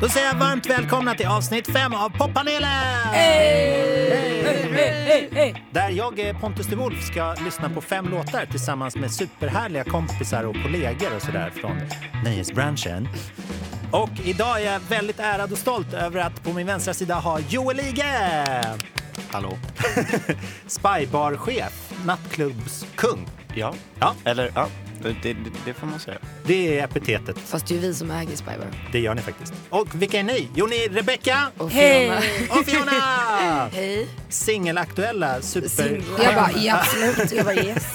Då säger jag varmt välkomna till avsnitt 5 av Poppanelen! Där jag, eh, Pontus de Wolf, ska lyssna på fem låtar tillsammans med superhärliga kompisar och kollegor och sådär från nöjesbranschen. Och idag är jag väldigt ärad och stolt över att på min vänstra sida ha Joel Ige! Hallå? Spybarchef, nattklubbskung. Ja? Ja, Eller ja, det, det, det får man säga. det är epitetet. Fast det är ju vi som äger Spybar. Det gör ni faktiskt. Och vilka är ni? Jo, ni är Rebecca Och Fiona. Hej! och Fiona! Hej. Singelaktuella super... Singel. Jag bara, ja, absolut. Jag bara, yes.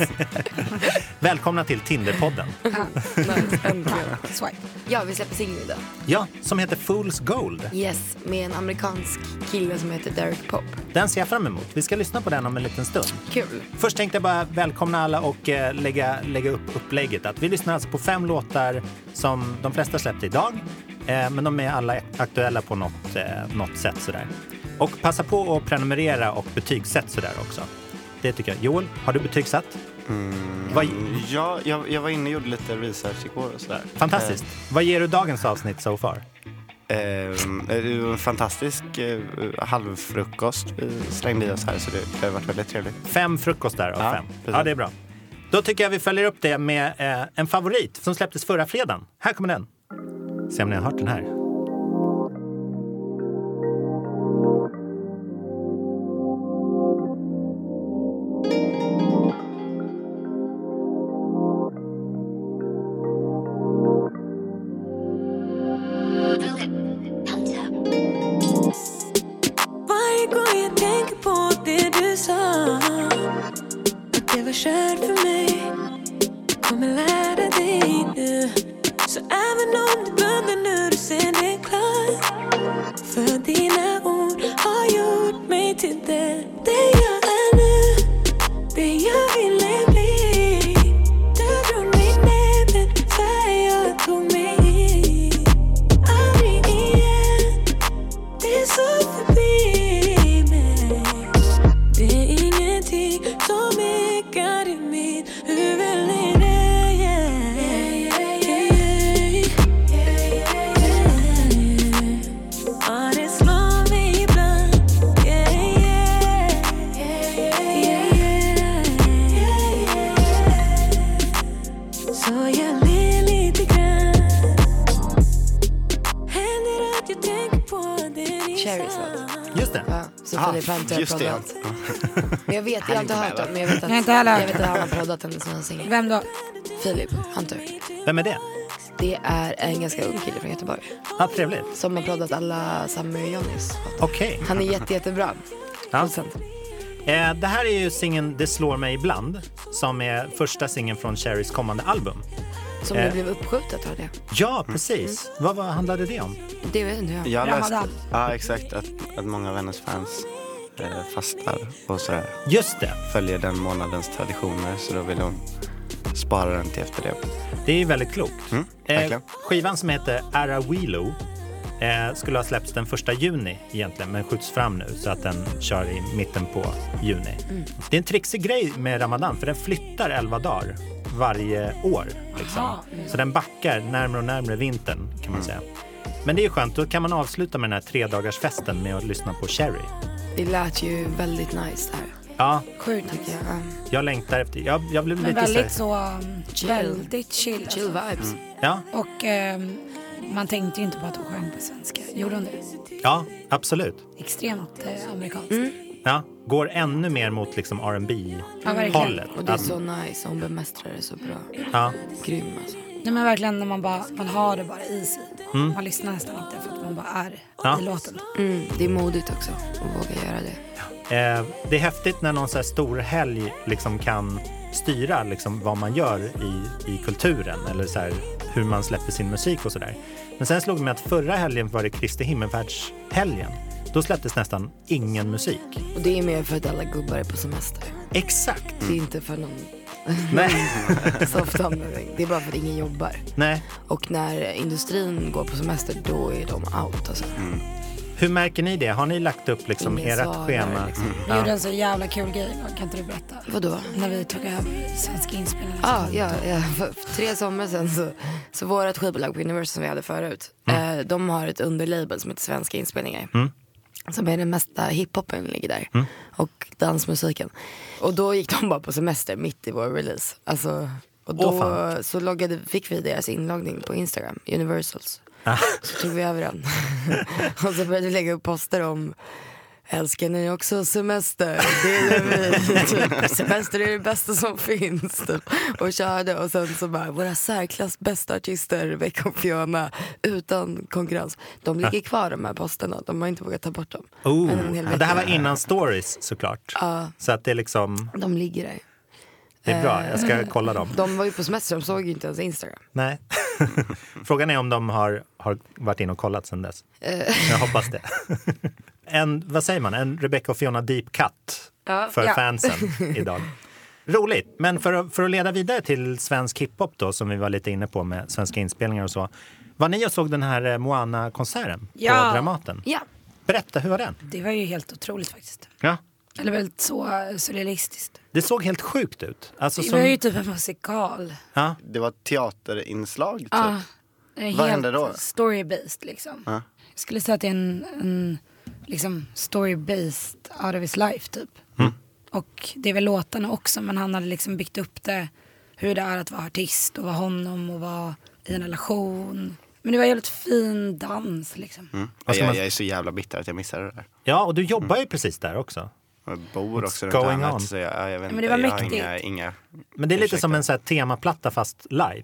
Välkomna till Tinderpodden. Nice. Äntligen. Swipe. Ja, vi släpper singel idag. Ja, som heter Fool's Gold. Yes, med en amerikansk kille som heter Derek Pop. Den ser jag fram emot. Vi ska lyssna på den om en liten stund. Kul. Först tänkte jag bara välkomna alla och eh, lägga, lägga upp upplägget. Att vi lyssnar alltså på fem låtar som de flesta släppte idag. Eh, men de är alla aktuella på något, eh, något sätt sådär. Och passa på att prenumerera och betygsätt sådär också. Det tycker jag. Joel, har du betygsatt? Vad, Ja, jag, jag var inne och gjorde lite research igår och sådär. fantastiskt. Vad ger du dagens avsnitt so far? Eh, ehm, eh, det var en fantastisk eh, halvfrukost vi slängde i oss här så det, det har varit väldigt trevligt. Fem frukostar av Ja, fem. precis. Ja, det är bra. Då tycker jag vi följer upp det med eh, en favorit som släpptes förra fredagen. Här kommer den. Se om ni har hört den här. Varje gång jag tänker på det du sa Att det var kört för mig Jag kommer lära dig nu Så även om du bubblar nu, du ser det klart För dina ord har gjort mig till den Det jag är nu Det jag ville bli Du drog mig ner, men färg jag tog mig i Aldrig igen det är så förbi mig Det är ingenting som ekar i mitt huvud längre yeah, yeah, yeah, yeah. Ja, det slår mig ibland yeah, yeah, yeah, yeah, yeah. Så jag ler lite grann Händer att jag tänker på det ni Cherry sa. Just det. Ja, så Filip Panter har just det. proddat. Men jag vet, jag har inte hört den, men jag vet att, Jag har inte heller hört. jag vet att han har proddat henne som en singel. Vem då? Filip Hunter. Vem är det? Det är en ganska ung kille från Göteborg Ja, trevligt. som har proddat alla Summer Johnnys. Okej. Han är jätte, jättebra. Ja. Procent. Eh, det här är ju singeln Det slår mig ibland som är första singeln från Cherries kommande album. Som Eh. nu blev uppskjutet, hörde jag. Ja, precis. Vad, vad handlade det om? Det vet inte jag. Jag läste, Ramadan. ja exakt, att, att många av hennes fans eh, fastar och sådär. Just det. Följer den månadens traditioner så då vill hon spara den till efter det. Det är ju väldigt klokt. Eh, Mm, verkligen. skivan som heter Arawilo eh, skulle ha släppts den första juni egentligen, men skjuts fram nu så att den kör i mitten på juni. Mm. Det är en trixig grej med Ramadan, för den flyttar 11 dagar varje år. Liksom. mm. Så den backar närmare och närmare vintern kan Mm. man säga. Men det är ju skönt, då kan man avsluta med den här tredagarsfesten med att lyssna på Cherry. Det lät ju väldigt nice det här. Ja, Sjukt. Tycker jag. Um, jag längtar efter... Jag, jag blev Men lite så här- väldigt så, um, Chill. väldigt chill. chill alltså. vibes. Mm. Ja, Och ehm, man tänkte ju inte på att hon sjöng på svenska. Gjorde hon det? ja, absolut. Extremt eh, amerikanskt. Ja, går ännu mer mot liksom R&B Ja, verkligen. hållet Och det är så nice, hon bemästrar det så bra. Ja, Grym alltså. Nej men verkligen när man bara, man har det bara i sig. Man lyssnar nästan inte för att man bara är Ja. i låten. Mm, det är modigt också att våga göra det. eh, det är häftigt när någon så här stor helg liksom kan styra liksom vad man gör i, i kulturen eller så här, hur man släpper sin musik och sådär. Men sen slog det mig att förra helgen var det Kristi himmelfärdshelgen. Då släpptes nästan ingen musik. Och det är mer för att alla gubbar är på semester. Exakt! Det är Mm. inte för någon Nej. soft anledning. Det är bara för att ingen jobbar. Nej. Mm. Och när industrin går på semester då är de out alltså. Hur märker ni det? Har ni lagt upp liksom Ingen ert svarar, schema? liksom. Vi gjorde en så jävla kul grej, kan inte du berätta? Vadå? När vi tog över svenska inspelningar. Ja, ja, ja, för tre somrar sedan så, så vårt skivbolag på Universal som vi hade förut, Mm. eh, de har ett underlabel som heter Svenska inspelningar. Som är den mesta hiphopen ligger där. Mm. Och dansmusiken. Och då gick de bara på semester mitt i vår release. Alltså, och då Åh, fan. så loggade, fick vi deras inloggning på Instagram, Universals. Ah. Så tog vi över den. och så började vi lägga upp poster om Älskar ni också semester? Det gör vi. Typ. Semester är det bästa som finns. Typ. Och körde och sen så bara våra särklass bästa artister Rebecca och Fiona utan konkurrens. De ligger kvar de här posterna. De har inte vågat ta bort dem. Oh, Men en hel ja, det här var vecka. innan stories såklart. Så att det är liksom, De ligger där. det är bra. Jag Eh. ska kolla dem. De var ju på semester, de såg ju inte ens Instagram. Nej. Frågan är om de har, har varit in och kollat sen dess. Eh. Jag hoppas det. En, vad säger man, en Rebecca och Fiona deep cut Ja. för Ja. fansen idag. Roligt, men för, att- för att leda vidare till svensk hiphop då som vi var lite inne på med svenska inspelningar och så. Var ni och såg den här eh, Moana-konserten Ja. på Dramaten? Ja. Berätta, hur var den? Det var ju helt otroligt faktiskt. Ja. Eller väldigt så eh, surrealistiskt. Det såg helt sjukt ut. Alltså, Det som, var ju typ en musikal. ja. Det var ett teaterinslag typ. Ja. Ah, Det är Vad helt hände då? Ah. Story-based liksom. Jag skulle säga att det är en, en liksom story-based out of his life typ. Mm. Och det är väl låtarna också men han hade liksom byggt upp det. Hur det är att vara artist och vara honom och vara i en relation. Men det var en jävligt fin dans liksom. Mm. Vad ska jag, man- jag är så jävla bitter att jag missade det där. ja, och du jobbar ju precis där också. Jag bor också runt going hörnet, on? Så jag, ja, jag, vet Men det inte, var jag har mäktigt. inga, inga Men det är lite Ursäkta. som en så här temaplatta fast live.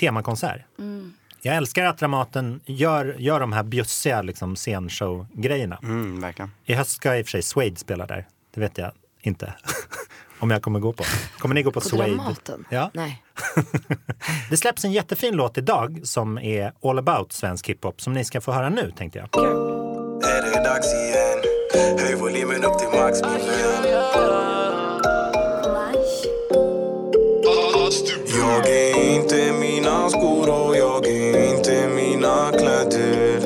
Temakonsert. Mm. Jag älskar att Dramaten gör, gör de här bjussiga liksom, scenshow-grejerna. Mm, verkligen. I höst ska i och för sig Suede spela där. Det vet jag inte om jag kommer gå på. Kommer ni gå på, På Suede? Dramaten? Ja. Nej. Det släpps en jättefin låt idag som är all about svensk hiphop som ni ska få höra nu tänkte jag. Är det dags igen? Höj volymen upp till max min vän Jag är inte mina skor och jag är inte mina kläder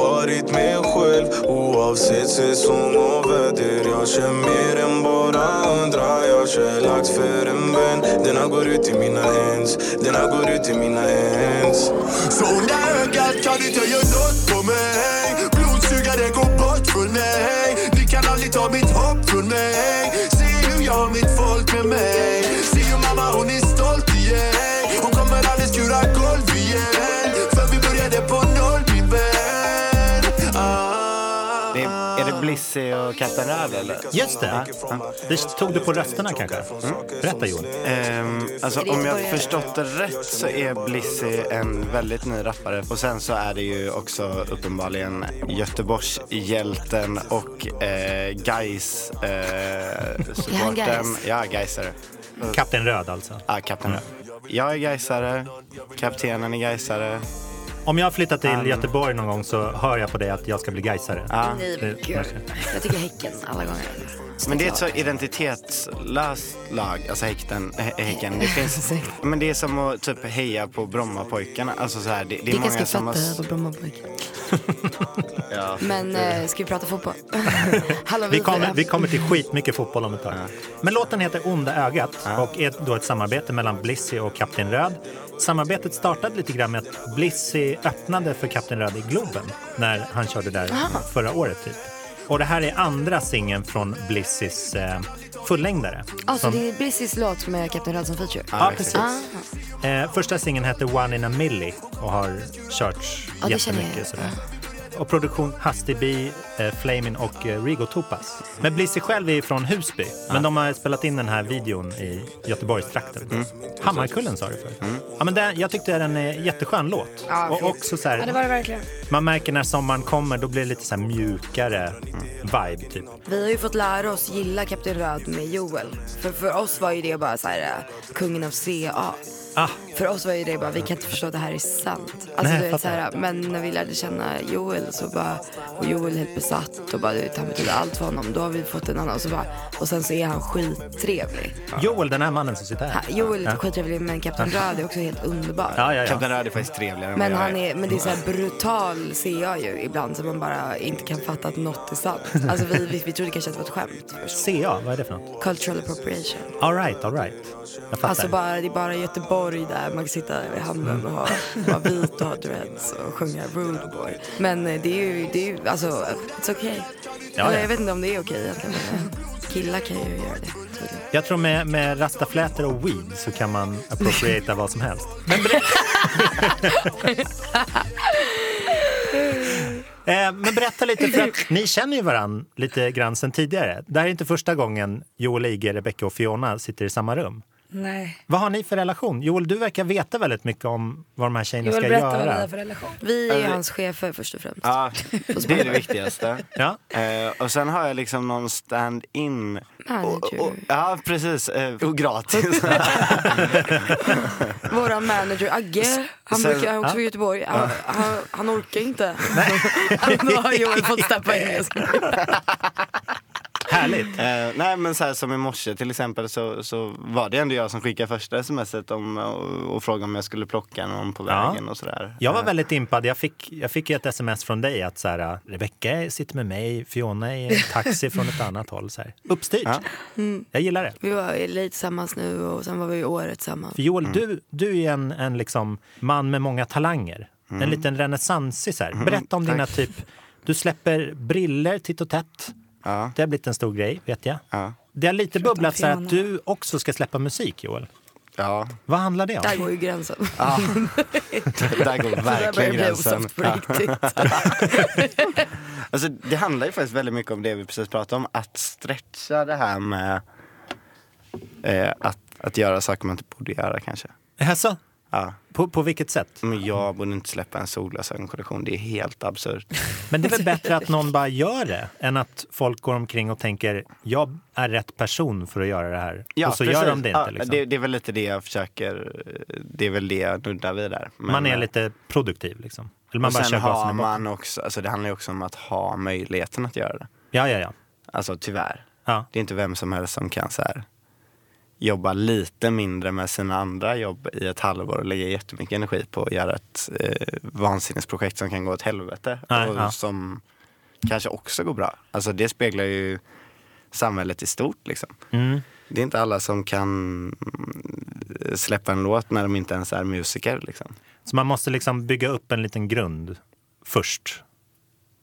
Varit mig själv oavsett säsong och väder Jag kör mer än bara andra Jag kör lax för en vän Denna går ut i mina hands Denna går ut i mina hands Från det ögat kan inte jag göra nåt på mig Blodsugaren går bort från mig Ni kan aldrig ta mitt hopp från mig Se hur jag har mitt folk med mig Se hur mamma hon är stolt igen Hon kommer aldrig skura golv igen För vi började på noll min vän ah. Det är, är det Blissy och Kapten Röd eller? Just det. Det tog du på rösterna kanske? Mm. Berätta Johan. Ehm, alltså om jag förstått det rätt så är Blissy en väldigt ny rappare och sen så är det ju också uppenbarligen Göteborgshjälten och eh, Gais eh, supporten. Gais? Ja, Gaisare. Kapten Röd alltså. Ja, Kapten Röd. Jag är Gaisare, kaptenen är Gaisare. Om jag flyttar till Göteborg någon gång så hör jag på dig att jag ska bli gaisare. Nej men gud. Jag tycker Häcken alla gånger. Men det är ett så identitetslöst lag, alltså häkten, hä- häcken. Det finns, men det är som att typ heja på Brommapojkarna. Alltså så här, det, det är Vilka många ska som har... fatta på Brommapojken? Men eh, ska vi prata fotboll? Hallå, Vi kommer, vi kommer till skitmycket fotboll om ett tag. Men låten heter Onda ögat och är då ett samarbete mellan Blissy och Kapten Röd. Samarbetet startade lite grann med att Blissy öppnade för Kapten Röd i Globen när han körde där förra året. Typ. Och det här är andra singeln från Blissys eh, fullängdare. Alltså Som- det är Blissis låt med Kapten Röd som feature? Ja, exakt. precis. Eh, första singeln hette One in a Milli och har körts Ja, det känner jag. jättemycket. Sådär. Och produktion Hasty B, eh, Flamin och eh, Rigo Topas. Men Blissy själv är från Husby, men de har spelat in den här videon i Göteborgstrakten. Mm. Hammarkullen sa du förut. Ja, men den, jag tyckte den är jätteskön låt. och också så här, Ja det var det verkligen. Man märker när sommaren kommer, då blir det lite så här mjukare vibe. Typ. Vi har ju fått lära oss gilla Kapten Röd med Joel. För för oss var ju det bara så här eh, kungen av CA. Ah, för oss var ju det bara, vi kan inte förstå att det här är sant. Alltså, Nej, du vet, så fattar. här, men när vi lärde känna Joel så bara, och Joel är helt besatt och bara, du vet, han betyder allt för honom. Då har vi fått en annan och så bara, och sen så är han skittrevlig. Joel, den här mannen som sitter Ha, här. Joel är Ja. skittrevlig men Kapten Röd är också helt underbar. Ja, ja, ja. Kapten Röd är faktiskt trevligare än Men, vad jag han är, men det är så här brutal ser jag ju ibland som man bara inte kan fatta att något är sant. Alltså vi, vi, vi trodde kanske att det var ett skämt. CA, vad är det för något? Cultural appropriation. All right, all right. Jag fattar. Mm. Alltså bara, det är bara Göteborg där man kan sitta i hamnen och ha- vara vit och ha dreads och sjunga rude boy. Men eh, det är ju, det är ju alltså, it's okay. Ja, Eller, ja. Jag vet inte om det är okej egentligen. men, eh, Killar kan ju göra det. tydligen. Jag tror med, med rastaflätor och weed så kan man appropriata vad som helst. Men berätta... eh, men berätta lite, för att ni känner ju varann lite grann sen tidigare. Det här är inte första gången Joel, Ige, Rebecca och Fiona sitter i samma rum. Nej. Vad har ni för relation? Joel, du verkar veta väldigt mycket om vad de här tjejerna Joel, ska berätta vad ni göra. har för relation. Vi är ju hans chefer först och främst. Ja, det är det viktigaste. Ja. Eh, och sen har jag liksom någon stand-in. Manager. Och, och, ja, precis. Eh, och gratis. Våra manager Agge, han, sen- brukar, han är också från Göteborg, han, han, han orkar inte. Då har Joel fått steppa in. Härligt! Eh, nej men så här som i morse till exempel så, så var det ändå jag som skickade första smset om, och, och frågade om jag skulle plocka någon på Ja. vägen och sådär. Jag var Eh, väldigt impad. Jag fick, jag fick ju ett sms från dig att så här, Rebecca sitter med mig, Fiona är i en taxi från ett annat håll. Så här. Uppstyrt! Jag gillar det. Vi var i lite tillsammans nu och sen var vi i året tillsammans. För Joel, Mm. du, du är en, en liksom man med många talanger. Mm. En liten renässansig. så här. Berätta om dina typ... Du släpper briller titt och tätt. Ja. Det har blivit en stor grej, vet jag. Ja. Det har lite bubblat så här Fiona. att du också ska släppa musik, Joel. Ja, Vad handlar det om? Där går ju gränsen. där går Där börjar verkligen det bli gränsen. osoft på Ja. riktigt. Alltså, det handlar ju faktiskt väldigt mycket om det vi precis pratade om. Att stretcha det här med eh, att, att göra saker man inte borde göra kanske. Alltså, Ja. på, på vilket sätt? Men jag borde inte släppa en solglasögonkollektion. Det är helt absurt. Men det är väl bättre att någon bara gör det än att folk går omkring och tänker jag är rätt person för att göra det här. och så gör de det inte. Ja, liksom. det, det är väl lite det jag försöker, eh, det är väl det jag nuddar vid där. Men, man är eh, lite produktiv liksom. Eller man och bara sen kör har gasen i botten. man också, alltså det handlar ju också om att ha möjligheten att göra det. Ja, ja, ja. Alltså tyvärr. ja. Det är inte vem som helst som kan så här, jobba lite mindre med sina andra jobb i ett halvår och lägga jättemycket energi på att göra ett eh, vansinnesprojekt som kan gå åt helvete. Nej, och ja. som kanske också går bra. Alltså det speglar ju samhället i stort liksom. Mm. Det är inte alla som kan mm, släppa en låt när de inte ens är musiker liksom. Så man måste liksom bygga upp en liten grund först.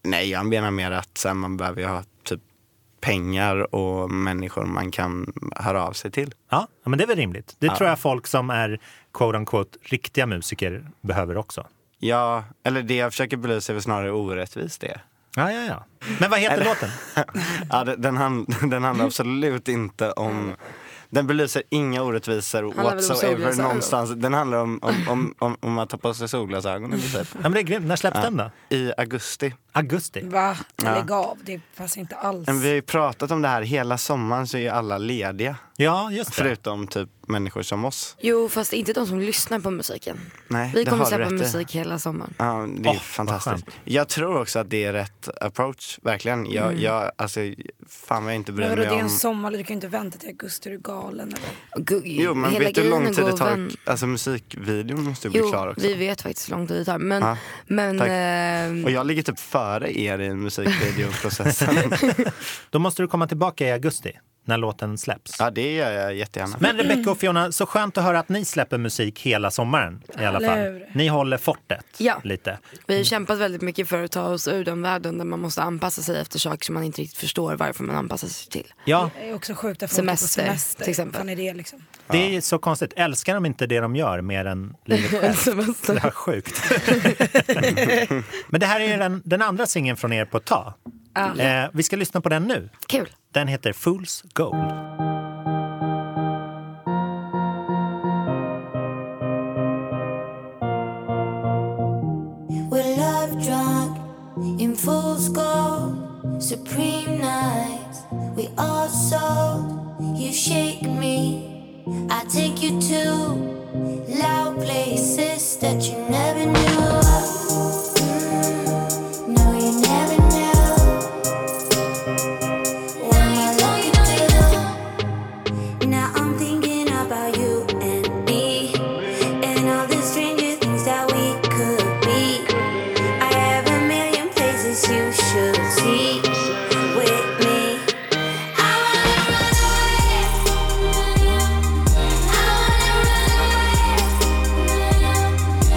Nej, jag menar mer att så här, man behöver ju ha typ pengar och människor man kan höra av sig till. Ja, ja, men det är väl rimligt. Det Ja. tror jag folk som är quote unquote riktiga musiker behöver också. Ja, eller det jag försöker belysa är väl snarare orättvist det. Ja, ja, ja. Men vad heter låten? Ja, det- den, hand, den handlar absolut inte om... Den belyser inga orättvisor väl om whatsoever solglasögon. någonstans. Den handlar om, om, om, om, om att ta på sig solglasögonen i princip. Ja, men det är grymt. När släpps den då? I augusti. Augusti? Va? Lägg av, det passar inte alls. Men vi har ju pratat om det här hela sommaren så är ju alla lediga. Ja, just det. Förutom typ människor som oss. Jo fast inte de som lyssnar på musiken. Nej, Vi det kommer har du släppa rätt i. musik hela sommaren. Ja, det är Åh, vad fantastiskt. skönt. Jag tror också att det är rätt approach, verkligen. Jag, jag, alltså, fan vad jag inte Mm. Men bryr vadå, det mig är en om... sommar, du kan ju inte vänta till augusti, är du galen eller? Gu- Jo, men vet du hur grejen lång tid går det att tar? vän- Alltså musikvideon måste ju bli klar Jo, också. vi vet faktiskt hur lång tid det tar. Men, Ja, men tack. ehm, Och jag ligger typ före er i musikvideoprocessen. Då måste du komma tillbaka i augusti när låten släpps. ja, det gör jag jättegärna. Men Rebecca och Fiona, så skönt att höra att ni släpper musik hela sommaren i alla Eller fall. hur? Ni håller fortet Ja. lite. vi har kämpat väldigt mycket för att ta oss ur den världen där man måste anpassa sig efter saker som man inte riktigt förstår varför man anpassar sig till. Ja, Det är också sjukt att folk Semester, är på semester. till exempel. Fan är det liksom? det är så konstigt. Älskar de inte det de gör mer än livet självt? Det här är sjukt. Men det här är den, den andra singeln från er på ett tag. Eh, vi ska lyssna på den nu. Kul. Den heter Fools Gold. We're love drunk in full score, supreme nights. We all sold. You shake me, I take you to Loud places that you never knew of. Mm, No, you never knew. Now you know you know you know. Now I'm thinking about you and me. And all the stranger things that we could be. I have a million places you should see with me. I wanna run away. I wanna run away.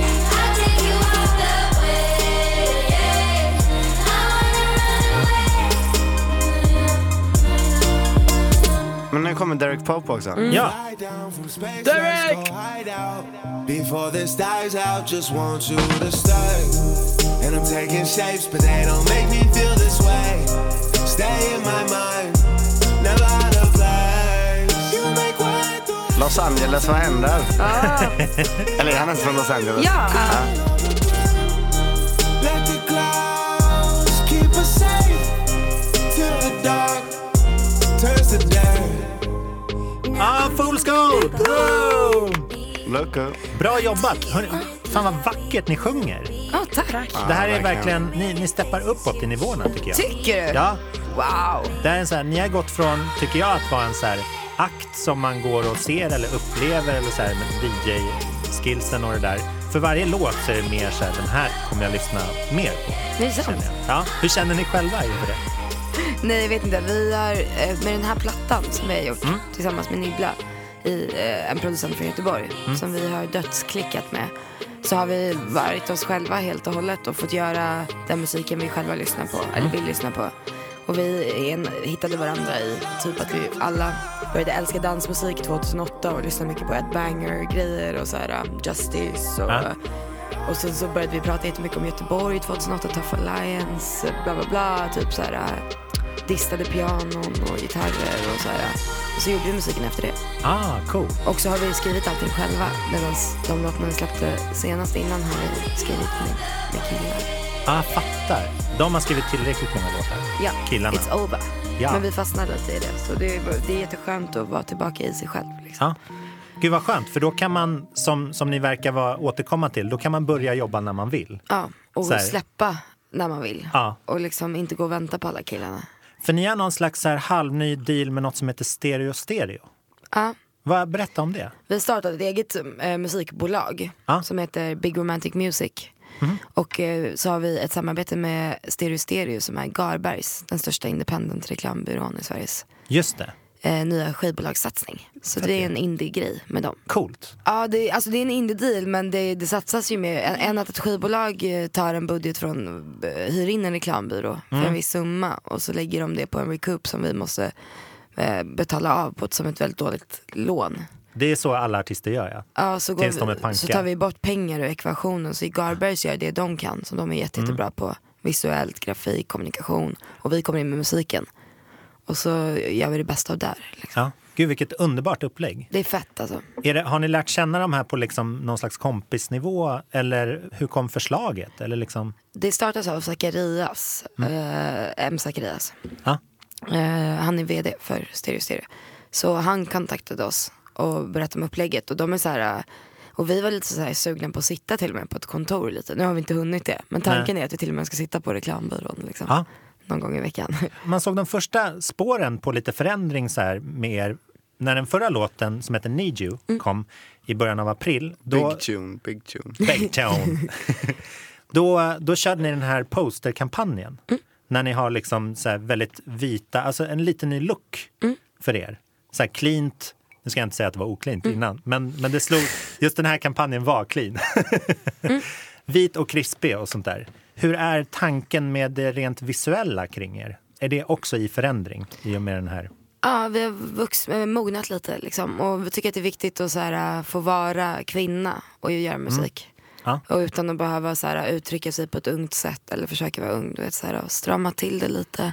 I'll take you off the way. I wanna run away. Men nu kommer Derek Pope också. Mm. Ja, Derek! Before this dies out, just want you to stay. And I'm taking shapes, but they don't make me feel this way. Stay in my mind, never out of place. You make way through Los Angeles, vad händer? Ah. Eller är han ens från Los Angeles? Ja, Let the clouds keep us safe till the dark turns to day. ah, Fool's Gold! Wow! Look up. Bra jobbat! Hörrni, fan vad vackert ni sjunger. ja tack. Det här är verkligen, ni, ni steppar uppåt i nivåerna tycker jag. Tycker du? Ja, Wow. det här är så här, ni har gått från, tycker jag, att vara en så här akt som man går och ser eller upplever eller så här med DJ-skillsen och det där. För varje låt så är det mer så här, den här kommer jag lyssna mer på. Det är sant. känner jag. Ja, hur känner ni själva inför det? Nej, jag vet inte. Vi har, eh, med den här plattan som vi har gjort tillsammans med Nibbla, i, eh, en producent från Göteborg, som vi har dödsklickat med, så har vi varit oss själva helt och hållet och fått göra den musiken vi själva lyssnar på, eller vill lyssna på. Och vi är en, hittade varandra i typ att vi alla började älska dansmusik 2008 och lyssnade mycket på Ed Banger-grejer och så här um, Justice och Ja. och sen så började vi prata jättemycket om Göteborg 2008, Tough Alliance, bla bla bla. Typ så här äh, distade pianon och gitarrer och så här. Och så gjorde vi musiken efter det. Ah, cool. Och så har vi skrivit allting själva. Medan de låtarna vi släppte senast innan har vi skrivit med, med killar. Ah, fattar. De har skrivit tillräckligt många låtar. Ja, Killarna. it's over. Ja. Men vi fastnade lite i det. Så det är, det är jätteskönt att vara tillbaka i sig själv. Liksom. Ja. Gud vad skönt, för då kan man, som, som ni verkar vara, återkomma till, då kan man börja jobba när man vill. Ja, och Så här. släppa när man vill. Ja. Och liksom inte gå och vänta på alla killarna. För ni har någon slags så här halvny deal med något som heter Stereo Stereo. Ja. Vad, berätta om det. Vi startade ett eget eh, musikbolag Ja. som heter Big Romantic Music. Och eh, så har vi ett samarbete med Stereo Stereo som är Garbergs, den största independent reklambyrån i Sveriges Just det, eh, nya skivbolagssatsning. Så det är en indie-grej med dem. coolt. Ja, det, alltså det är en indie-deal men det, det satsas ju mer än- än att ett skivbolag eh, tar en budget från, eh, hyr in en reklambyrå för en viss summa och så lägger de det på en recoup som vi måste eh, betala av på som ett väldigt dåligt lån. Det är så alla artister gör ja. Ja, så, går Tills de är vi, panka. så tar vi bort pengar ur ekvationen. Så Garbergs gör det de kan, som de är jätte, Mm. jättebra på. Visuellt, grafik, kommunikation. Och vi kommer in med musiken. Och så gör vi det bästa av där. Liksom. ja. Gud vilket underbart upplägg. Det är fett alltså. Är det, har ni lärt känna de här på liksom någon slags kompisnivå eller hur kom förslaget? Eller liksom, Det startas av Zacharias, eh, M. Zacharias. Mm. ja. Eh, han är vd för Stereo Stereo. Så han kontaktade oss och berättade om upplägget. Och de är så här, eh, och vi var lite så här sugna på att sitta till och med på ett kontor lite. Nu har vi inte hunnit det. Men tanken är att vi till och med ska sitta på reklambyrån liksom. Ja. Någon gång i veckan. Man såg de första spåren på lite förändring så här med er. När den förra låten som heter Need You kom i början av april. Då, Big tune, big tune. Baytown. då, då körde ni den här posterkampanjen. Mm. När ni har liksom så här väldigt vita, alltså en liten ny look Mm. för er. Så här cleant, nu ska jag inte säga att det var oklint Mm. innan, men, men det slog, just den här kampanjen var clean. Mm. Vit och krispig och sånt där. Hur är tanken med det rent Mm. visuella kring er? Är det också i förändring i och med den här? Ja, vi har vux- eh, mognat lite liksom. Och vi tycker att det är viktigt att så här, äh, få vara kvinna och ju göra musik. Mm. Ja. Och utan att behöva så här, eh, uttrycka sig på ett ungt sätt eller försöka vara ung. Du vet, så här, och strama till det lite.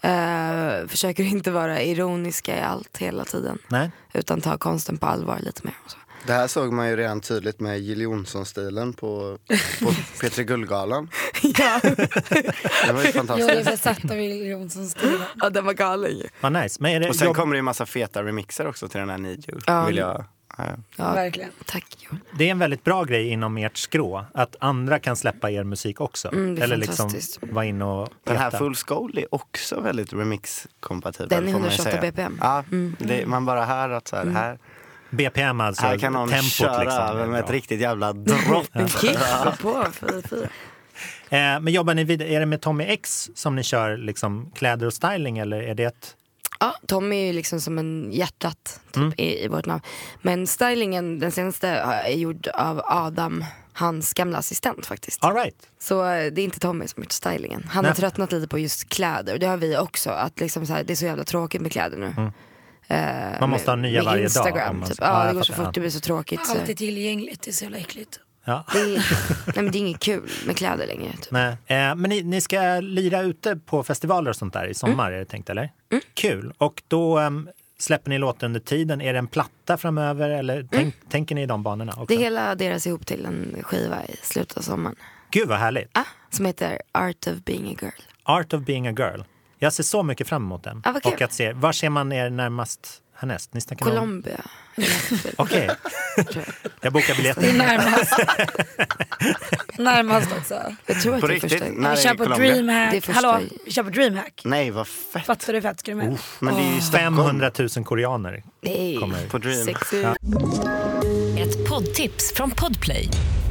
Eh, försöker inte vara ironiska i allt hela tiden. Nej? Utan ta konsten på allvar lite mer. och Så. Det här såg man ju redan tydligt med Jill Johnson-stilen på, på P3 Guldgalan. ja. Det var ju Jag är fantastiskt. besatt av Jill Johnsons stil. ja, den var galen ju. Vad nice. Men är det Och sen jobb- kommer det ju massa feta remixer också till den här Need You. Ja. Vill jag, Ja, Verkligen. tack Joel. Det är en väldigt bra grej inom ert skrå, att andra kan släppa er musik också. Mm, det är Eller liksom fantastiskt. vara inne och Den här peta. Full Skull är också väldigt remix-kompatibel. Den är får man ju 128 säga. BPM. Ja, Mm. det, man bara hör att så här, här, BPM alltså, här kan någon Mm. tempot köra liksom. är över med bra. ett riktigt jävla dropp. En kick, gå på, fyra, fyra. Eh, men jobbar ni vidare, är det med Tommy X som ni kör liksom kläder och styling eller är det ett... Ja, Tommy är ju liksom som en hjärtat typ, Mm. i, i vårt namn. Men stylingen, den senaste, eh, är gjord av Adam, hans gamla assistent faktiskt. All right. Så eh, det är inte Tommy som har gjort stylingen. Han har Nej. tröttnat lite på just kläder. Och det har vi också. Att liksom så här, det är så jävla tråkigt med kläder nu. Eh, Man måste med- ha Mm. nya med varje dag, Instagram, om man- Typ. Ja, Ja, jag det går så fattar, fort, det blir så tråkigt. Så. Allt är tillgängligt, det är så jävla äckligt. Ja. Det, är, nej, men det är inget kul med kläder längre. Typ. Nej. Eh, men ni, ni ska lira ute på festivaler och sånt Mm. där i sommar är det tänkt eller? Kul. Och då ehm, släpper ni låtar under tiden. Är det en platta framöver eller tänk, tänker ni i de banorna också? Mm. Det hela deras ihop till en skiva i slutet av sommaren. Gud vad härligt. Ah, som heter Art of being a girl. Art of being a girl. Jag ser så mycket fram emot den. Ja, vad kul. och att se, var ser man er närmast härnäst? Ni snackar om- Colombia. Okej, tror jag. jag bokar Det är biljetter. närmast. närmast också. jag tror att På det är första. riktigt? Nej. Vi är kör på Colombia. Det är DreamHack. första- Hallå, vi kör på DreamHack. Nej, vad fett. Fattar du hur fett skulle du med? Men det är ju i Stockholm 500 000 koreaner. Nej. Kommer. på Dream. Sexy. Ett poddtips från Podplay.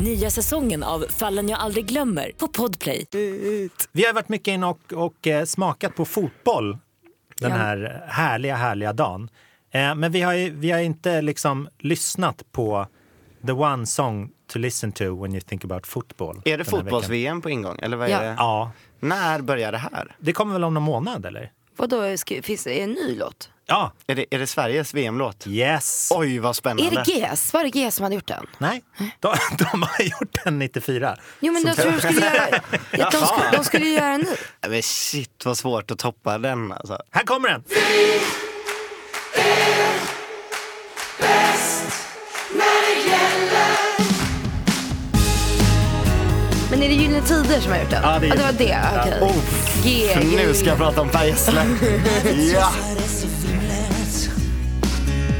Nya säsongen av Fallen jag aldrig glömmer på Podplay. Vi har varit mycket inne och, och eh, smakat på fotboll den här härliga, härliga dagen. Eh, men vi har, ju, vi har inte liksom lyssnat på the one song to listen to when you think about football. Är det den här veckan. fotbolls-VM på ingång? Eller vad är Ja. det? Ja. När börjar det här? Det kommer väl om någon månad, eller? Vadå, ska, finns det en ny låt? Ja. Är det, är det Sveriges VM-låt? Yes! Oj, vad Är spännande. det GES? Var det GES som hade gjort den? Nej, de, de har gjort den 94. Jo men jag tror de skulle göra, ja, de, skulle, de skulle ju göra en ny. Nej, Men shit, vad svårt att toppa den alltså. Här kommer den! Men är det Gyllene Tider som har gjort den? Ja, det är- var det, okej. Oh, G, G, nu ska jag prata om Per Gessle. ja.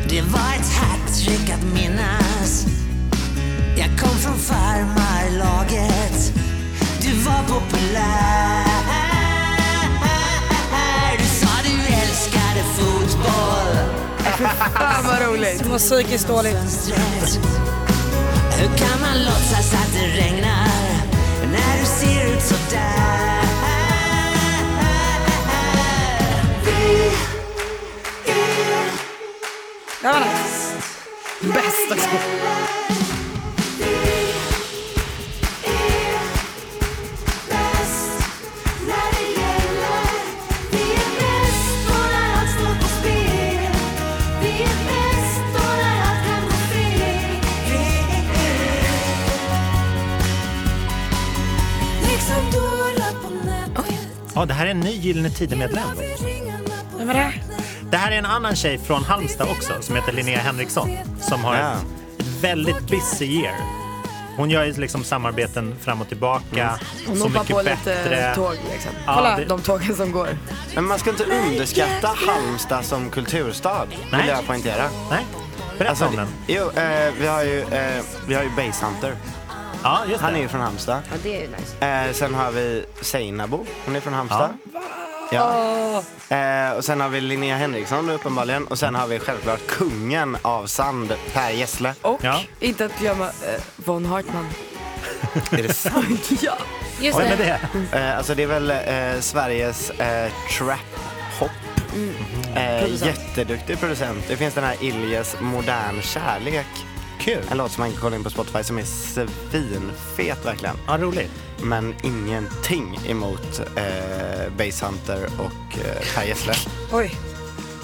Det var ett hattrick att minnas Jag kom från farmarlaget Du var populär Du sa du älskade fotboll Fan vad roligt. Du mår psykiskt dåligt. fönstret. Hur kan man låtsas att det regnar när du ser ut sådär? Det var nice. Bästa sko. Liksom Ja, det här är en ny Gyllene Tider-medlem. Vem var det? Det här är en annan tjej från Halmstad också som heter Linnea Henriksson som har Ja. ett väldigt busy year. Hon gör ju liksom samarbeten fram och Mm. tillbaka. Hon så hoppar mycket på bättre. lite tåg liksom. Ja, Kolla det- de tågen som går. Men man ska inte underskatta Halmstad som kulturstad, Nej. vill jag poängtera. Nej, berätta Alltså, om den. jo, eh, vi har ju, eh, vi har ju Base Hunter. Ja, just Han är det. ju från Halmstad. Ja det är ju nice. Eh, sen har vi Seinabo, hon är från Halmstad. Ja. Eh, och sen har vi Linnea Henriksson uppenbarligen. Och sen har vi självklart kungen av sand, Per Gessle. Och Ja. inte att glömma eh, Von Hartman. Är det sant? ja. Just Oj, men det. det. Eh, alltså det är väl eh, Sveriges eh, trap-hop. Eh, Producent. jätteduktig producent. Det finns den här Iljes Modern Kärlek. Kul. En låt som man kan kolla in på Spotify som är svinfet verkligen. Ja, roligt. Men ingenting emot eh, Base Hunter och eh, Per Gessle. Oj.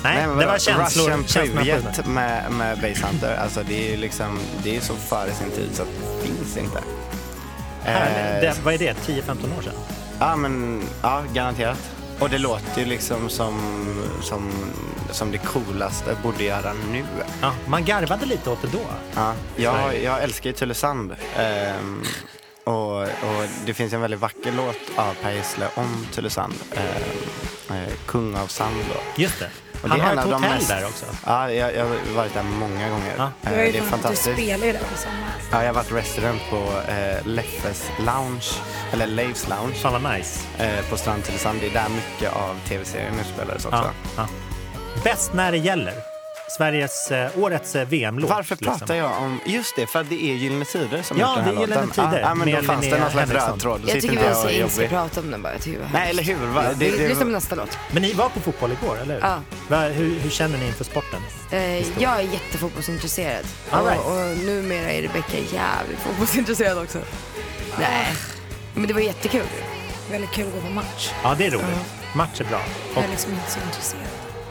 Nej, men det vadå? var känslor. Russian känslorna på Privet med, med Base Hunter. Alltså det är ju liksom, det är så före sin tid så att det finns inte. Eh, den. Här, det, vad är det? 10-15 år sedan? Ja, men ja, garanterat. Och det låter ju liksom som, som, som det coolaste jag borde göra nu. Ja, man garvade lite åt det då. Ja, jag, jag älskar ju Tylösand. Ehm, och, och det finns en väldigt vacker låt av Per Gessle om Tylösand. Ehm, eh, Kung av sand då. Just det. Och Han är har en ett av de hotell mest- där också. Ja, jag, jag har varit där många gånger. Du Eh, har ju det är fan- fantastiskt. Du spelar ju där på sommaren. Ja, jag har varit resident på eh, Leffes Lounge, eller Leifs Lounge. Fan vad nice. Eh, på Strand till Sand. Det är där mycket av tv-serien utspelades också. Ja, ja. Bäst när det gäller. Sveriges, eh, årets eh, VM-låt. Varför pratar liksom. jag om... Just det, för att det är Gyllene Tider som Ja, gjort den här det är Gyllene låten. Tider Ja, men då med fanns det Linnea någon slags Henriksson. röd tråd. Då Jag sitter tycker vi jag ska och är inte ska jobbig. prata om den bara. tycker jag. Nej, eller hur? Va? Ja, Det- det- Lyssna på nästa låt. Men ni var på fotboll igår, eller hur? Ja. Va, hur, hur känner ni inför sporten? Eh, jag är jättefotbollsintresserad. All right. och, och numera är Rebecka jävligt fotbollsintresserad också. Ah. Nej, men det var jättekul. Väldigt kul att gå på match. Ja, det är roligt. Match är bra. Jag Och, är liksom inte så intresserad.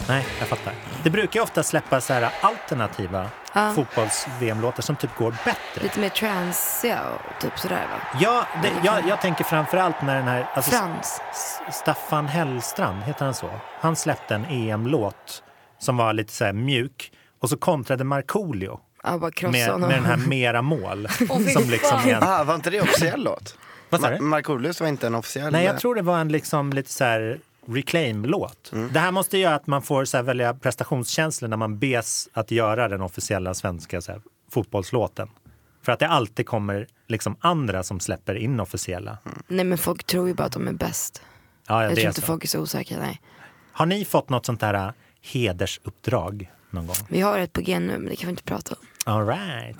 nej, jag fattar. Det brukar ju ofta släppas så här alternativa Ja. fotbolls-VM-låtar som typ går bättre. Lite mer transiga och typ sådär va. Ja, det, jag, jag tänker framförallt när den här... Alltså, Frans. S- Staffan Hellstrand, heter han så? Han släppte en EM-låt som var lite så här mjuk och så kontrade Markoolio Ja, bara krossa med, honom. med den här Mera mål. som liksom är en, Ah, var inte det officiell låt? Vad sa du? Ma- Markoolios var inte en officiell... nej, jag tror det var en liksom lite så här reclaim-låt. Mm. Det här måste göra att man får så här välja prestationskänslor när man bes att göra den officiella svenska så här, fotbollslåten. För att det alltid kommer liksom andra som släpper inofficiella. Mm. Nej men folk tror ju bara att de är bäst. Ja, ja, jag det tror är inte så. folk är så osäkra, nej. Har ni fått något sånt här äh, hedersuppdrag någon gång? Vi har ett på G nu men det kan vi inte prata om. All right.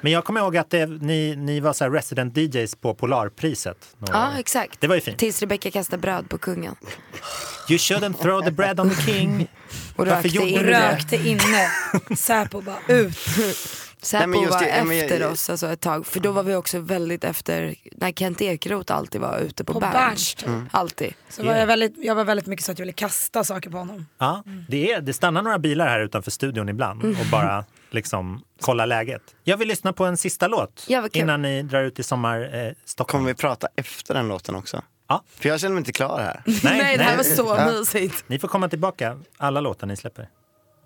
Men jag kommer ihåg att det, ni, ni var så här resident DJs på Polarpriset. några Ja år. exakt. Det var ju fint. Tills Rebecka kastade bröd på kungen. You shouldn't throw the bread on the king. Och Varför rökte gjorde in du det? Rökte inne, Säpo bara ut. Nej, men Säpo just var det, ja, men jag- efter oss alltså, ett tag, för då var vi också väldigt efter, när Kent Ekeroth alltid var ute på, På Berns, Berns. typ. Mm. Alltid. Så var jag, väldigt, jag var väldigt mycket så att jag ville kasta saker på honom. Ja, det, är, det stannar några bilar här utanför studion ibland Mm. och bara liksom kolla läget. Jag vill lyssna på en sista låt Ja, vad kul. innan ni drar ut i sommar eh, Stockholm. Kommer vi prata efter den låten också? Ja. För jag känner mig inte klar här. Nej, det här var så Ja. mysigt. Ni får komma tillbaka, alla låtar ni släpper. Här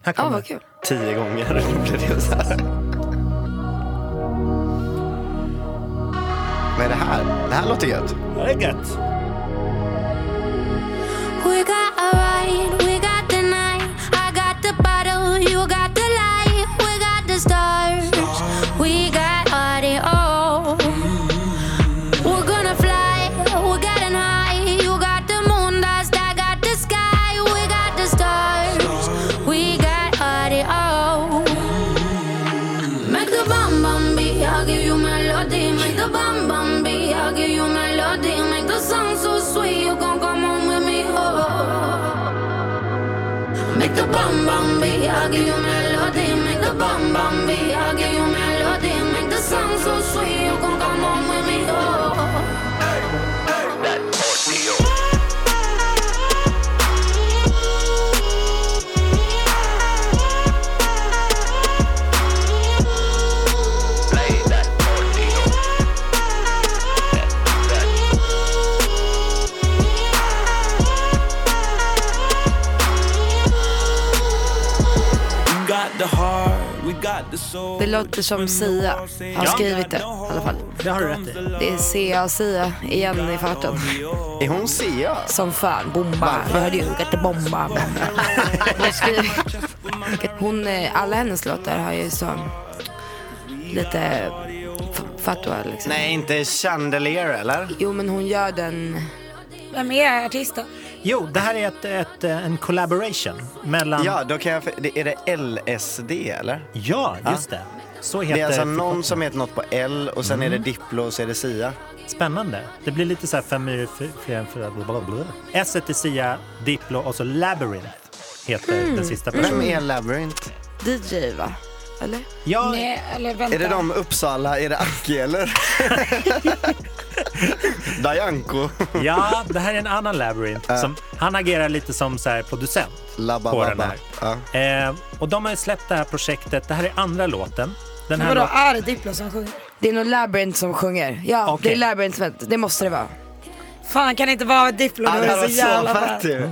Ja, kommer vad kul. Tio gånger blir det så här. Vad är det här? Det här låter gött. det är gött. We got a ride, we got the night. I got the bottle, you got the light. We got the stars, we got all it all. We're gonna fly, we're getting high. You got the moon dust, I got the sky. We got the stars, we got all it all. Make the bum bum beat, I'll give you melody. Make the bum bum beat, I'll give you melody. Make the song so sweet, you gon' come on with me, oh. Make the bum bum beat, I'll give you melody. Make the bum bum beat, I'll give you melody. Make the song so sweet, you gon' come on with me, oh. Det låter som Sia har skrivit det i alla fall. Det har du rätt i. Det är Sia Sia igen i farten. Är hon Sia? Som fan. Bomba, hör du? Got the bomba. Hon skriver- Hon, eh, alla hennes låtar har ju så lite f- fatwa liksom. Nej, inte Chandelier eller? Jo men hon gör den, Vem är artisten? Jo, det här är ett, ett, eh, en collaboration mellan... Ja, då kan jag... det- Är det LSD eller? Ja, just det. Så heter Det är alltså förkortningen. någon som heter något på L och sen är det Diplo och så är det Sia. Spännande. Det blir lite så här fem myror f- fler än fyra. blablabla. S är Sia, Diplo och så Labyrinth heter den sista Vem personen. är Labyrinth? DJ va? Eller? Ja, Nej, Eh, eller vänta. Är det de Uppsala? Är det Aki eller? Dajanko. ja, det här är en annan Labyrinth. Äh. Som, han agerar lite som så här producent Labba på den babba. här. Eh, och de har ju släppt det här projektet. Det här är andra låten. Den här Vadå, låten. är det Diplo som sjunger? Det är nog Labyrinth som sjunger. Ja, Okej. det är Labyrinth som det måste det vara. Fan kan det inte vara Diplo? Ja, Det det är var så så jävla fett bra. ju.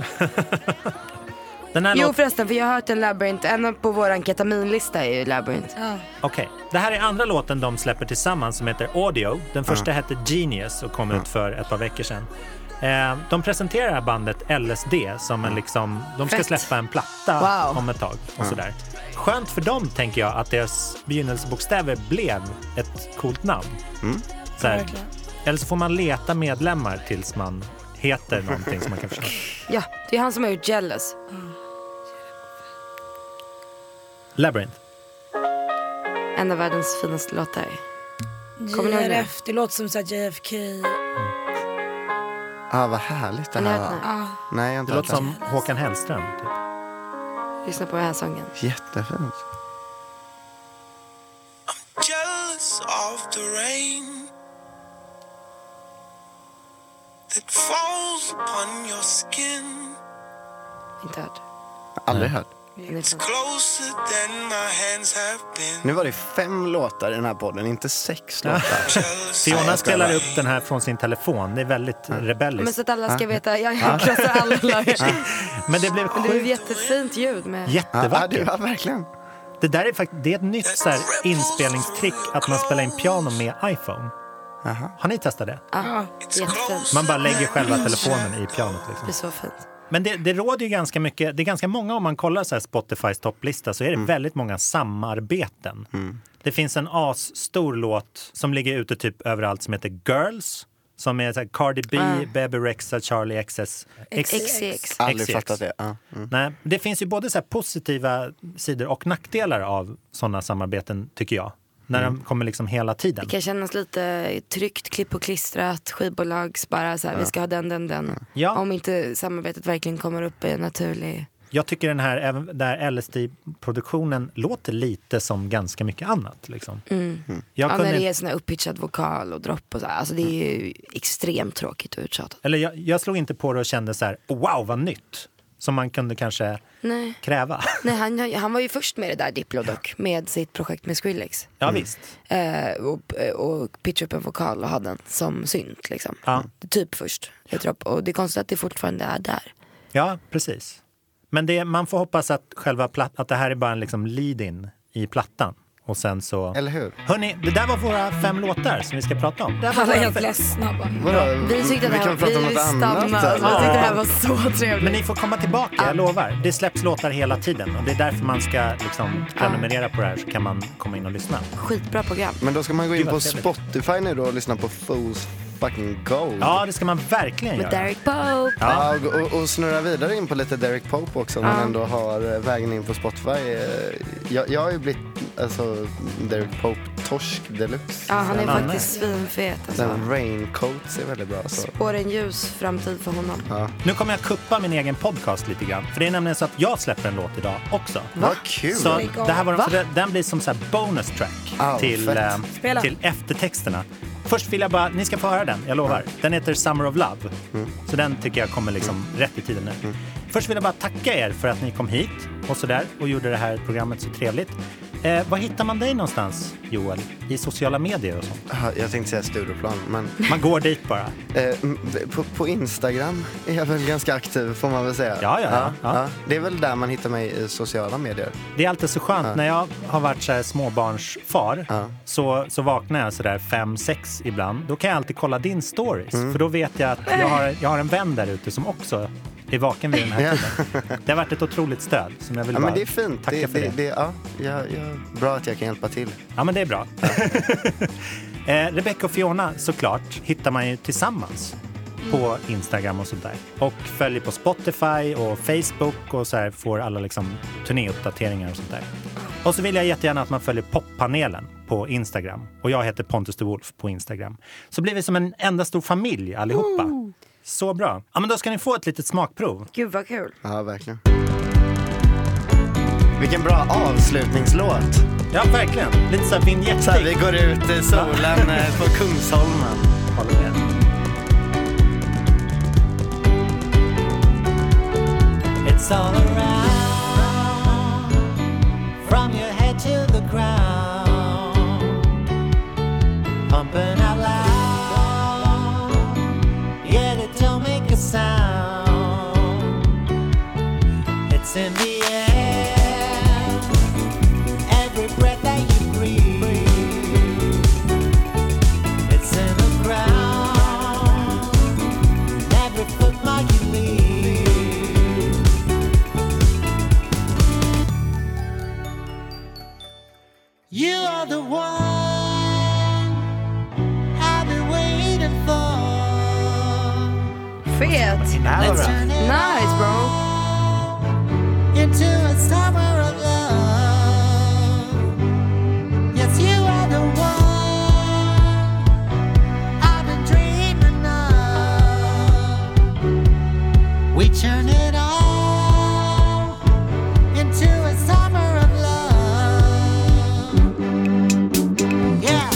Den här Jo låten... förresten, för jag har hört en labyrint, en på våran ketaminlista är ju labyrint. Okej, det här är andra låten de släpper tillsammans som heter Audio. Den första hette Genius och kom ut för ett par veckor sedan. Eh, de presenterar det här bandet LSD som en liksom, de ska Fett. släppa en platta Wow. om ett tag och sådär. Skönt för dem tänker jag att deras begynnelsebokstäver blev ett coolt namn. Så här, Verkligen. eller så får man leta medlemmar tills man heter någonting som man kan förstå. Ja, det är han som har gjort Jealous. Labyrinth. En av världens finaste låtar. Kommer ni ihåg det? JRF, det låter som så här JFK. Ah, vad härligt det Har ni här hört den var. här? Nej, jag har inte Det låter hört den. som Håkan Hellström. Typ. Lyssna på den här sången. Jättefint. Jealous of the rain that falls upon your skin. Inte hört. Aldrig hört. Den är fan- Closer than my hands have been. Nu var det fem låtar i den här podden, inte sex låtar. Fiona spelar upp den här från sin telefon. Det är väldigt Men rebelliskt. så att alla ska Ah. veta, jag, jag krossar alla lagar. Men det blev Men det är ett sjukt jättefint ljud med... Ja, ja, det jättevackert. var verkligen. Det där är faktiskt det är ett nytt så här, inspelningstrick att man spelar in piano med iPhone. Jaha. Har ni testat det? Ja, jättefint. Man bara lägger själva telefonen i pianot. Liksom. Det är så fint. Men det, det råder ju ganska mycket. Det är ganska många, om man kollar så här Spotifys topplista, så är det Mm. väldigt många samarbeten. Det finns en asstor låt som ligger ute typ överallt som heter Girls. Som är så här Cardi B, Ah. Bebe Rexha, Charlie XS. XCX. Aldrig XCX. fattat det. Ja. Mm. Nej, det finns ju både så här positiva sidor och nackdelar av sådana samarbeten, tycker jag. När de kommer liksom hela tiden. Mm. Det kan kännas lite tryggt, klipp och klistrat, skivbolags bara så här, vi ska ha den, den, den. Ja. Om inte samarbetet verkligen kommer upp i en naturlig... Jag tycker den här, även där LSD-produktionen låter lite som ganska mycket annat. Liksom. Jag Mm. Ja, kunde när det inte- är sån här upppitchad vokal och dropp och så här. Alltså det är ju extremt tråkigt och uttjatat. Eller jag, jag slog inte på det och kände så här, wow vad nytt. Som man kunde kanske Nej. kräva. Nej, han, han var ju först med det där Diplo dock, med sitt projekt med Skrillex. Ja visst. Eh, och, och pitcha upp en vokal och ha den som synt liksom. Ja. Typ först, ett dropp. Och det är konstigt att det fortfarande är där. Ja, precis. Men det, man får hoppas att, själva platt, att det här är bara en liksom lead-in i plattan. Och sen så... Eller hur? Hörni, det där var våra fem låtar som vi ska prata om. Det här var Alla är våra helt fem- ledsna bara. Vadå? Vi tyckte det vi här, kan prata om något annat. Vi eller? tyckte det här var så trevligt. Men ni får komma tillbaka, jag lovar. Det släpps låtar hela tiden och det är därför man ska liksom prenumerera på det här så kan man komma in och lyssna. Skitbra program. Men då ska man gå in Gud, på vad trevligt. Spotify nu då och lyssna på Fools fucking Gold. Ja, det ska man verkligen Med göra. Derek Pope. Ja, och, och, och snurra vidare in på lite Derek Pope också om man ändå har eh, vägen in på Spotify. Eh, Jag, jag har ju blivit alltså, Derek Pope-torsk deluxe. Ja, han är Anna. faktiskt svinfet alltså. Den Raincoats är väldigt bra. Så. Spår en ljus framtid för honom. Nu kommer jag kuppa min egen podcast lite grann. För det är nämligen så att jag släpper en låt idag också. Vad kul! Så det här var den, så den- den blir som så här bonus track Ah, till, fett. eh, Spela. till eftertexterna. Först vill jag bara, ni ska få höra den, jag lovar. Den heter Summer of Love. Mm. Så den tycker jag kommer liksom rätt i tiden nu. Först vill jag bara tacka er för att ni kom hit och sådär och gjorde det här programmet så trevligt. Eh, var hittar man dig någonstans, Joel? I sociala medier och sånt? Ja, Jag tänkte säga Stureplan, men Man går dit bara. eh, m- på, på Instagram är jag väl ganska aktiv får man väl säga. Ja, ja, ja. Ja. Det är väl där man hittar mig i sociala medier. Det är alltid så skönt. När jag har varit så här småbarnsfar så, så vaknar jag så där fem, sex ibland. Då kan jag alltid kolla din stories. Mm. För då vet jag att jag har, jag har en vän där ute som också är vaken vid den här tiden. Det har varit ett otroligt stöd som jag vill Ja, bara men det är fint. tacka det, för det. det. ja, ja, ja. Bra att jag kan hjälpa till. Ja, men det är bra. eh, Rebecca och Fiona såklart hittar man ju tillsammans på Instagram och sånt där. Och följer på Spotify och Facebook och så här får alla liksom turnéuppdateringar och sånt där. Och så vill jag jättegärna att man följer poppanelen på Instagram. Och jag heter Pontus de Wolf på Instagram. Så blir vi som en enda stor familj allihopa. Så bra. Ja, men då ska ni få ett litet smakprov. Gud vad kul. Ja, verkligen. Vilken bra avslutningslåt. Ja, verkligen. Lite så här Så här, vi vinjettig. går ut i solen eh, på Kungsholmen. Håller med. It's all around, from your head to the ground, pumping out loud. Yeah, the sound. It's in the air. Every breath that you breathe. It's in the ground. Every footmark you leave. You are the one I've been waiting for. Fet! Det här var bra. Nice bro! Into a summer of love. Yes, you are the one I've been dreaming of. We turn it all into a summer of love. Yeah.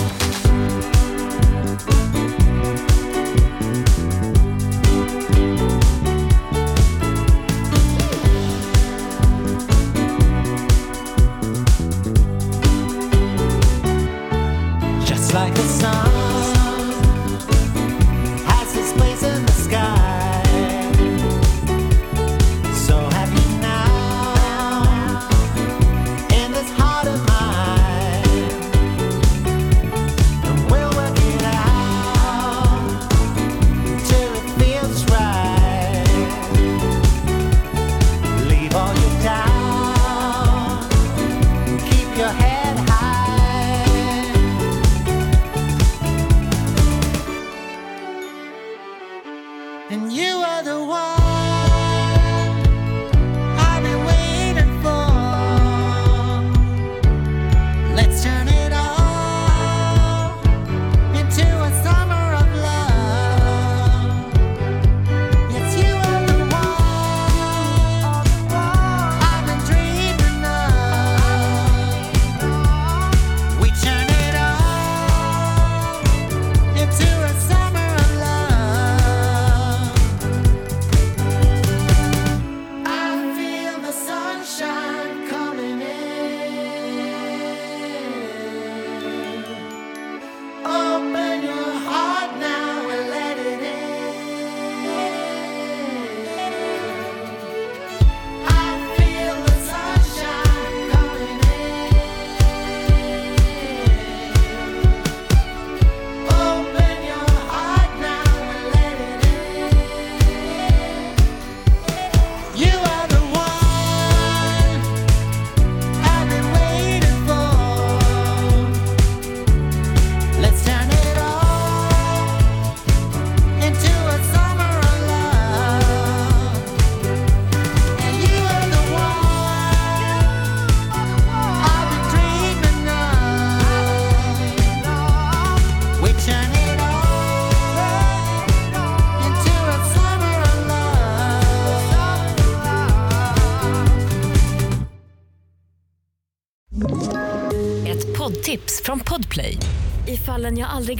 just like the sun has its place in the sky. So have you now in this heart of mine, and we'll work it out till it feels right. Leave all your doubts, keep your head high. And you are the one I've been waiting for. Let's turn it all into a summer of love. Yes, you are the one I've been dreaming of. We turn it all into a summer of love. I feel the sunshine coming in. Open your heart now and let it in. I feel the sunshine coming in. Open your heart now and let it in. You are the one I've been waiting for. Let's turn it all into a summer of love. And you are the one I've been dreaming of. We turn it all into a summer of love. Ett poddtips från Podplay. I fallen jag aldrig